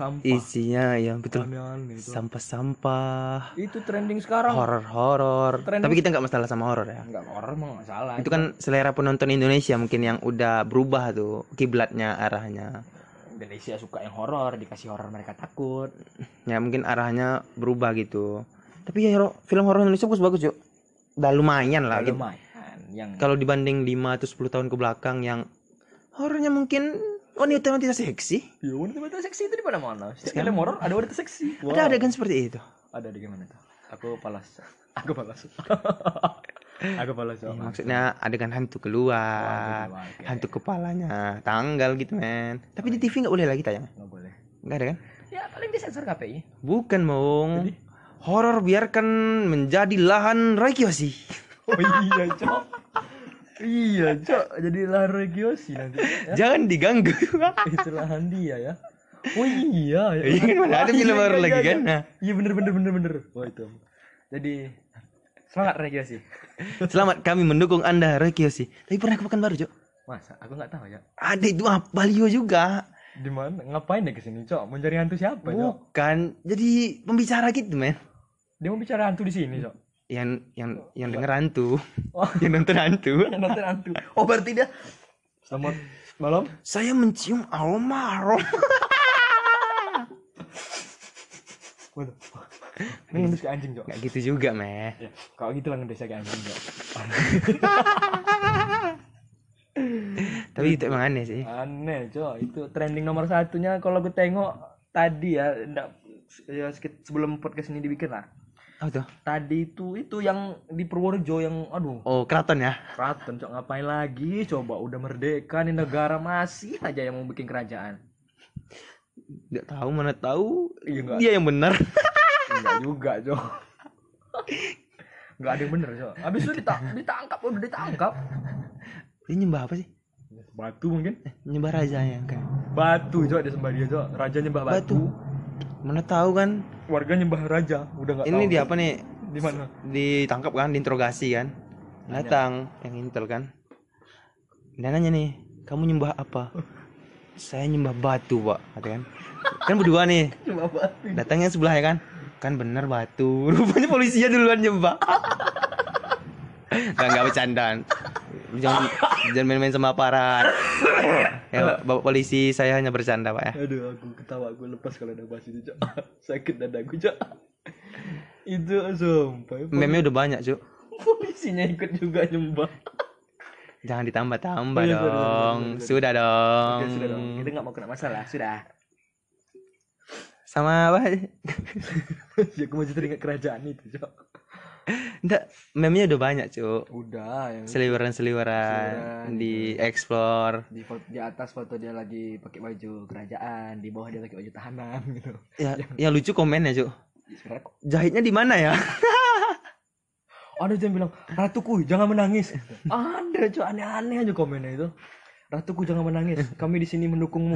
Speaker 2: sampah
Speaker 1: Isinya ya betul.
Speaker 2: aneh-aneh itu.
Speaker 1: Sampah-sampah,
Speaker 2: itu trending sekarang
Speaker 1: horor-horor.
Speaker 2: Trending.
Speaker 1: Tapi kita nggak masalah sama horor ya.
Speaker 2: nggak horor mah nggak salah
Speaker 1: Itu kan selera penonton Indonesia mungkin yang udah berubah tuh kiblatnya arahnya.
Speaker 2: Indonesia suka yang horor dikasih horor mereka takut
Speaker 1: Ya mungkin arahnya berubah gitu. Tapi ya hero- film horor Indonesia bagus-bagus, Cuk. Udah lumayan lah gitu.
Speaker 2: lumayan yang
Speaker 1: Kalau dibanding 5 atau 10 tahun ke belakang yang horornya mungkin oh, wanita wanita seksi.
Speaker 2: ya wanita seksi itu di mana mana setiap film horor ada wanita seksi
Speaker 1: Ada adegan seperti itu.
Speaker 2: ada di gimana tuh aku palas (laughs) aku palas aku palas oh,
Speaker 1: Iya, Maksudnya adegan hantu keluar.
Speaker 2: Wah, oke.
Speaker 1: hantu kepalanya tanggal gitu men tapi di TV nggak boleh lagi tayang
Speaker 2: nggak boleh
Speaker 1: nggak ada kan
Speaker 2: ya paling disensor KPI
Speaker 1: bukan mong horor biarkan menjadi lahan rekreasi
Speaker 2: oh iya cok iya cok jadi lahan regiosi nanti ya.
Speaker 1: jangan
Speaker 2: (laughs)
Speaker 1: diganggu
Speaker 2: itu lahan dia ya oh iya ya
Speaker 1: Iya kan, mana ada
Speaker 2: Wah,
Speaker 1: film
Speaker 2: iya,
Speaker 1: horor
Speaker 2: iya,
Speaker 1: lagi
Speaker 2: iya,
Speaker 1: kan?
Speaker 2: iya.
Speaker 1: Nah.
Speaker 2: iya bener bener bener bener wah itu jadi semangat regiosi
Speaker 1: selamat kami mendukung anda rekreasi tapi pernah ke Pekanbaru Cok
Speaker 2: masa aku nggak tahu ya
Speaker 1: ada itu apa Balio juga
Speaker 2: di mana ngapain dia kesini cok mencari hantu siapa cok
Speaker 1: bukan jadi pembicara gitu men
Speaker 2: dia mau bicara hantu di sini cok
Speaker 1: yang yang yang denger hantu
Speaker 2: Oh.
Speaker 1: (laughs) yang nonton
Speaker 2: (laughs)
Speaker 1: hantu
Speaker 2: yang nonton hantu oh berarti dia selamat malam
Speaker 1: saya mencium aroma aroma (laughs)
Speaker 2: waduh ngendus ke anjing cok
Speaker 1: nggak gitu juga men
Speaker 2: ya, kalau gitu lah ngendus ke anjing cok
Speaker 1: tapi itu emang aneh sih
Speaker 2: aneh cok itu trending nomor satunya kalau gue tengok tadi ya ndak ya, sekit- sebelum podcast ini dibikin lah
Speaker 1: oh tuh
Speaker 2: tadi itu itu yang di Purworejo yang aduh
Speaker 1: oh keraton ya
Speaker 2: keraton cok ngapain lagi coba udah merdeka nih negara masih aja yang mau bikin kerajaan
Speaker 1: nggak tahu mana tahu
Speaker 2: Iya, nggak.
Speaker 1: dia yang benar
Speaker 2: enggak juga (laughs) cok enggak ada yang bener cok habis itu ditang ditangkap udah ditangkap
Speaker 1: dia nyembah apa sih
Speaker 2: batu mungkin
Speaker 1: nyembah raja ya kan
Speaker 2: batu cok disembah dia cok raja nyembah batu,
Speaker 1: batu mana tahu kan
Speaker 2: warga nyembah raja udah nggak
Speaker 1: ini
Speaker 2: tahu
Speaker 1: dia apa nih
Speaker 2: di mana
Speaker 1: ditangkap kan diinterogasi kan datang yang intel kan dan nanya nih kamu nyembah (laughs) apa saya nyembah batu pak kata kan kan berdua nih
Speaker 2: nyembah batu
Speaker 1: datang yang sebelah ya kan kan bener batu (laughs) rupanya polisinya duluan nyembah nggak nggak bercandaan jangan jangan main-main sama aparat ya bapak polisi saya hanya bercanda pak ya
Speaker 2: Aduh, aku ketawa, aku lepas kalau ada bahas itu, Cok. (laughs) Sakit dadaku, Cok. itu sampai
Speaker 1: meme udah banyak cuk
Speaker 2: polisinya ikut juga nyembah.
Speaker 1: jangan ditambah-tambah
Speaker 2: Iya, sorry, sorry,
Speaker 1: dong
Speaker 2: sorry, sorry.
Speaker 1: sudah dong
Speaker 2: Ya, sudah dong, kita nggak mau kena masalah, sudah.
Speaker 1: sama apa
Speaker 2: (laughs) ya, aku masih teringat kerajaan itu, Cok.
Speaker 1: enggak meme udah banyak cuk
Speaker 2: Udah, ya. yang
Speaker 1: seliweran-seliweran di explore
Speaker 2: di, fo- di atas foto dia lagi pakai baju kerajaan, di bawah dia pakai baju tahanan gitu.
Speaker 1: ya yang lucu komennya cuk
Speaker 2: Ya, Sebenarnya kok-
Speaker 1: jahitnya di mana ya
Speaker 2: ada yang bilang, "Ratuku, jangan menangis." ada, Cok, aneh-aneh aja komennya itu. Ratuku jangan menangis, kami di sini mendukungmu.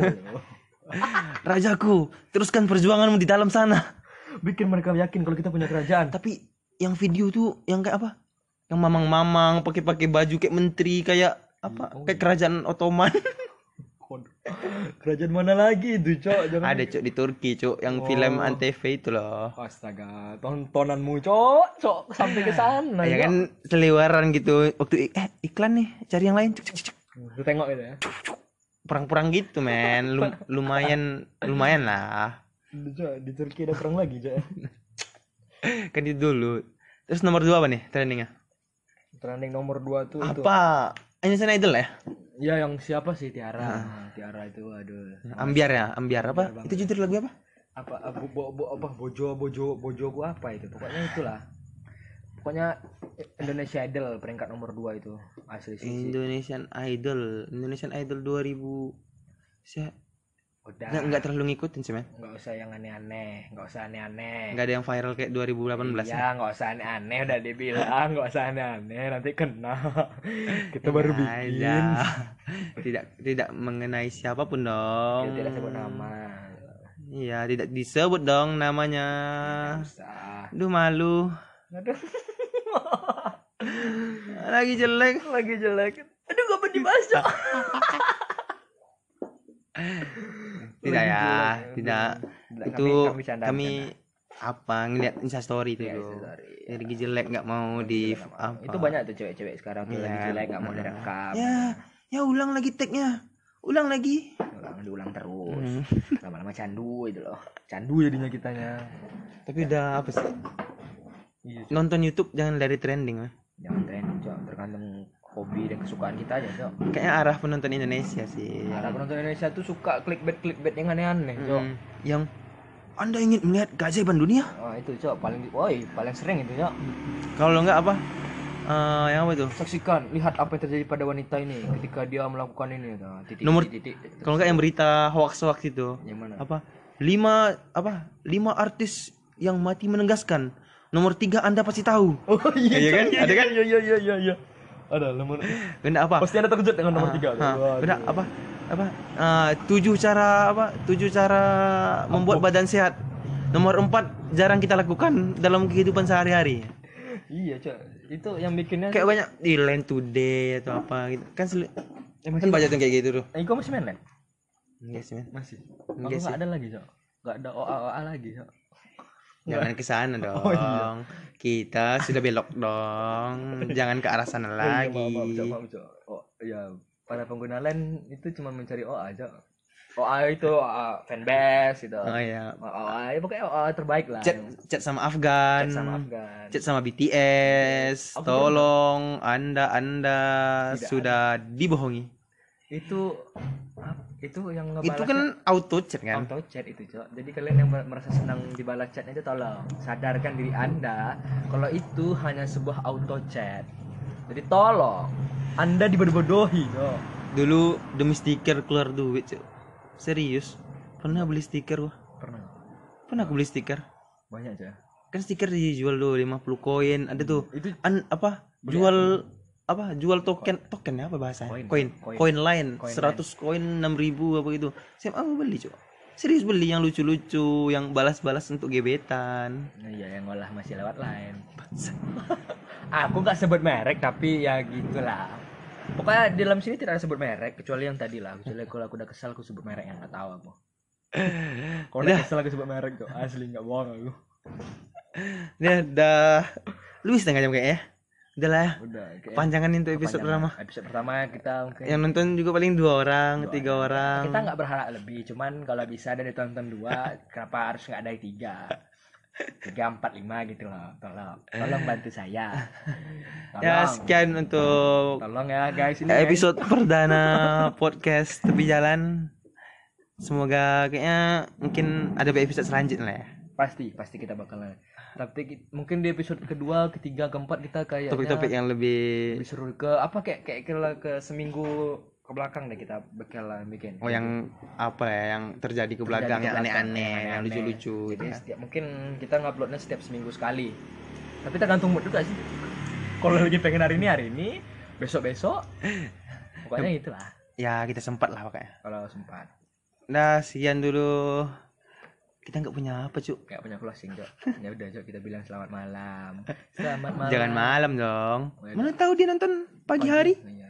Speaker 1: rajaku teruskan perjuanganmu di dalam sana
Speaker 2: Bikin mereka yakin kalau kita punya kerajaan.
Speaker 1: tapi yang video tuh yang kayak apa yang mamang-mamang pakai-pakai baju kayak menteri kayak apa kayak kerajaan Ottoman
Speaker 2: Waduh. Kerajaan mana lagi itu, Cok? Jangan
Speaker 1: ada cok di Turki cok yang film antv itu loh
Speaker 2: Oh, Astaga, tontonanmu, Cok. Cok, sampai ke sana.
Speaker 1: ya
Speaker 2: Cok.
Speaker 1: kan seliweran gitu waktu i- eh iklan nih cari yang lain cuk cuk cuk, cuk
Speaker 2: Lu tengok gitu ya.
Speaker 1: perang-perang gitu men Lum- lumayan lumayan lah
Speaker 2: Aduh, Cok, di Turki ada perang lagi, Cok.
Speaker 1: kan itu dulu terus nomor dua apa nih trendingnya
Speaker 2: Trending nomor 2 tuh itu.
Speaker 1: apa Indonesian Idol ya
Speaker 2: Ya yang siapa sih Tiara?
Speaker 1: Ah.
Speaker 2: Tiara itu aduh.
Speaker 1: ambiar ya ambiar apa itu judul lagu apa
Speaker 2: Apa eh, bo, bo, bo- apa bojo bojo bojo gua apa itu? Pokoknya itulah. Pokoknya Indonesia Idol peringkat nomor 2 itu. Asli sih.
Speaker 1: Indonesian Idol Indonesian Idol 2000 saya nggak
Speaker 2: Udah,
Speaker 1: nggak terlalu ngikutin sih men
Speaker 2: nggak usah yang aneh-aneh, nggak usah aneh-aneh.
Speaker 1: nggak ya. ada yang viral kayak 2018
Speaker 2: Iya, nggak usah aneh-aneh udah dibilang, nggak usah aneh-aneh nanti
Speaker 1: (laughs)
Speaker 2: kena. Kita baru
Speaker 1: Ya,
Speaker 2: bikin.
Speaker 1: ya. (laughs) tidak tidak mengenai siapapun dong
Speaker 2: Kita tidak sebut nama.
Speaker 1: iya tidak disebut dong namanya
Speaker 2: Nggak usah.
Speaker 1: Duh malu
Speaker 2: Aduh, (laughs)
Speaker 1: lagi jelek
Speaker 2: lagi jelek. Aduh, gak mau dibahas, Cok.
Speaker 1: tidak ya tidak
Speaker 2: Tidak,
Speaker 1: itu
Speaker 2: kami- kan. kami
Speaker 1: kami,
Speaker 2: canda,
Speaker 1: apa ngeliat instastory itu
Speaker 2: Ya,
Speaker 1: dulu
Speaker 2: instastory,
Speaker 1: energi jelek nggak mau di apa
Speaker 2: Iya, itu banyak tuh cewek-cewek sekarang tuh lagi
Speaker 1: Iya,
Speaker 2: jelek nggak mau
Speaker 1: benar.
Speaker 2: direkam
Speaker 3: Iya.
Speaker 1: ya ya ulang lagi tagnya ulang lagi
Speaker 2: Ulang, diulang terus
Speaker 3: (laughs)
Speaker 1: Hmm.
Speaker 2: lama-lama candu itu loh candu
Speaker 3: Dua jadinya kitanya.
Speaker 1: tapi udah apa sih
Speaker 3: Iya.
Speaker 1: nonton YouTube jangan dari trending ah.
Speaker 2: jangan trending cok tergantung hobi dan kesukaan kita aja cok
Speaker 1: kayaknya arah penonton Indonesia sih
Speaker 3: Iya.
Speaker 2: para penonton Indonesia tuh suka clickbait clickbait yang aneh-aneh cok
Speaker 3: Hmm.
Speaker 1: Mm, yang anda ingin melihat keajaiban dunia
Speaker 2: oh, itu cok paling woi paling sering itu cok
Speaker 1: kalau nggak apa eh, yang apa itu
Speaker 2: saksikan lihat apa yang terjadi pada wanita ini ketika dia melakukan ini nah, titik,
Speaker 1: Nomor-
Speaker 2: titik, titik, titik.
Speaker 1: kalau nggak yang berita hoax hoax itu
Speaker 2: yang mana
Speaker 3: Nah.
Speaker 2: (laughs)
Speaker 1: apa lima apa lima artis yang mati menegaskan nomor tiga anda pasti tahu
Speaker 3: Oh iya,
Speaker 1: Iya kan? Ada
Speaker 3: kan? Iya iya iya iya. iya. Ada nomor.
Speaker 1: benda apa
Speaker 3: Pasti ada terkejut dengan nomor
Speaker 1: Ah,
Speaker 3: tiga.
Speaker 1: ah,
Speaker 3: Waduh.
Speaker 1: benda apa apa Ah, tujuh cara apa tujuh cara membuat badan sehat nomor empat jarang kita lakukan dalam kehidupan sehari-hari
Speaker 2: iya cok itu yang bikinnya
Speaker 1: kayak banyak di land today atau apa gitu kan sel- kan banyak yang kayak gitu tuh
Speaker 2: eh, kau masih main LAN?
Speaker 1: Yes, man.
Speaker 3: Masih.
Speaker 2: Aku
Speaker 1: Enggak
Speaker 2: nggak ada lagi cok nggak ada OA OA lagi cok
Speaker 1: Jangan ke (laughs) sana dong. Kita sudah belok (laughs) dong. Jangan ke arah sana
Speaker 2: Oh, iya, maaf, maaf,
Speaker 1: lagi.
Speaker 2: Cok, maaf, Cok. Oh, iya, para pengguna lain itu cuma mencari OA aja. OA itu OA fanbase gitu.
Speaker 1: Oh iya.
Speaker 2: OA, ya pokoknya OA terbaik lah.
Speaker 1: Chat Nah, iya. chat sama Afgan.
Speaker 2: Chat sama Afgan.
Speaker 1: Chat sama BTS.
Speaker 2: Aku
Speaker 1: Tolong Anda Anda
Speaker 2: Tidak
Speaker 1: sudah dibohongi.
Speaker 2: Itu ap- itu yang ngebalas
Speaker 1: Itu kan auto chat kan?
Speaker 2: auto chat itu cok jadi kalian yang merasa senang dibalas chatnya itu tolong sadarkan diri anda kalau itu hanya sebuah auto chat jadi tolong anda dibodoh-bodohi cok
Speaker 1: Dulu demi stiker keluar duit, Cuk. Serius. Pernah beli stiker gua.
Speaker 2: pernah
Speaker 1: Pernah aku beli stiker.
Speaker 2: banyak cok ya?
Speaker 1: Kan stiker dijual dulu 50 koin, ada tuh.
Speaker 2: itu
Speaker 1: an apa jual apa jual token token ya, apa bahasanya
Speaker 2: ya? Koin.
Speaker 1: koin
Speaker 2: Koin.
Speaker 1: koin lain
Speaker 2: Koin
Speaker 1: 100 koin 6000 apa gitu saya aku beli coba serius beli yang lucu-lucu yang balas-balas untuk gebetan
Speaker 2: Nah, Iya yang ngolah masih lewat lain. (laughs)
Speaker 1: Bangsat.
Speaker 2: Aku nggak sebut merek tapi ya gitulah. Pokoknya di dalam sini tidak ada sebut merek kecuali yang tadi lah. Kecuali kalau aku udah kesal aku sebut merek yang nggak tahu (laughs) aku. Kalau udah
Speaker 1: Udah.
Speaker 2: kesel aku sebut merek kok asli nggak bohong aku.
Speaker 1: ya udah lebih setengah jam kayaknya udah lah ya.
Speaker 2: Udah. kayaknya
Speaker 1: panjangan untuk episode
Speaker 2: kepanjangan.
Speaker 1: pertama
Speaker 2: Episode pertama kita mungkin
Speaker 1: yang nonton juga paling dua orang
Speaker 2: Dua
Speaker 1: tiga orang
Speaker 2: kita nggak berharap lebih. Cuman kalau bisa ada ditonton dua, kenapa harus nggak dari tiga? Tiga empat lima gitu loh. Tolong, tolong bantu saya.
Speaker 1: (laughs) ya
Speaker 2: Tolong,
Speaker 1: sekian untuk
Speaker 2: tolong ya guys ini. guys.
Speaker 1: episode perdana podcast tepi jalan semoga kayaknya mungkin ada episode selanjutnya lah ya
Speaker 2: kan pasti pasti kita bakalan tapi ki- mungkin di episode kedua ketiga keempat kita kayak
Speaker 1: topik-topik ya. yang lebih
Speaker 2: lebih seru ke apa kayak kayak ke, ke seminggu ke belakang deh kita bakalan bikin
Speaker 1: oh yang apa ya yang terjadi ke belakang yang aneh-aneh yang lucu-lucu gitu
Speaker 2: jadi
Speaker 1: ya.
Speaker 2: setiap mungkin kita nguploadnya setiap seminggu sekali tapi tergantung mood juga sih kalau lagi pengen hari ini hari ini
Speaker 1: (laughs)
Speaker 2: besok besok pokoknya gitulah
Speaker 1: ya kita sempat lah pokoknya
Speaker 2: kalau sempat
Speaker 1: nah sekian dulu kita nggak punya apa cuk
Speaker 2: kayak punya closing cok ya udah cok kita bilang selamat malam
Speaker 1: (laughs)
Speaker 2: selamat malam
Speaker 1: jangan malam dong
Speaker 2: Oh, iya.
Speaker 1: mana tahu dia nonton pagi hari
Speaker 2: Iya.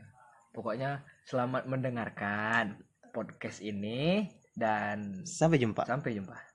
Speaker 2: Pokoknya selamat mendengarkan podcast ini dan
Speaker 1: sampai jumpa
Speaker 2: sampai jumpa.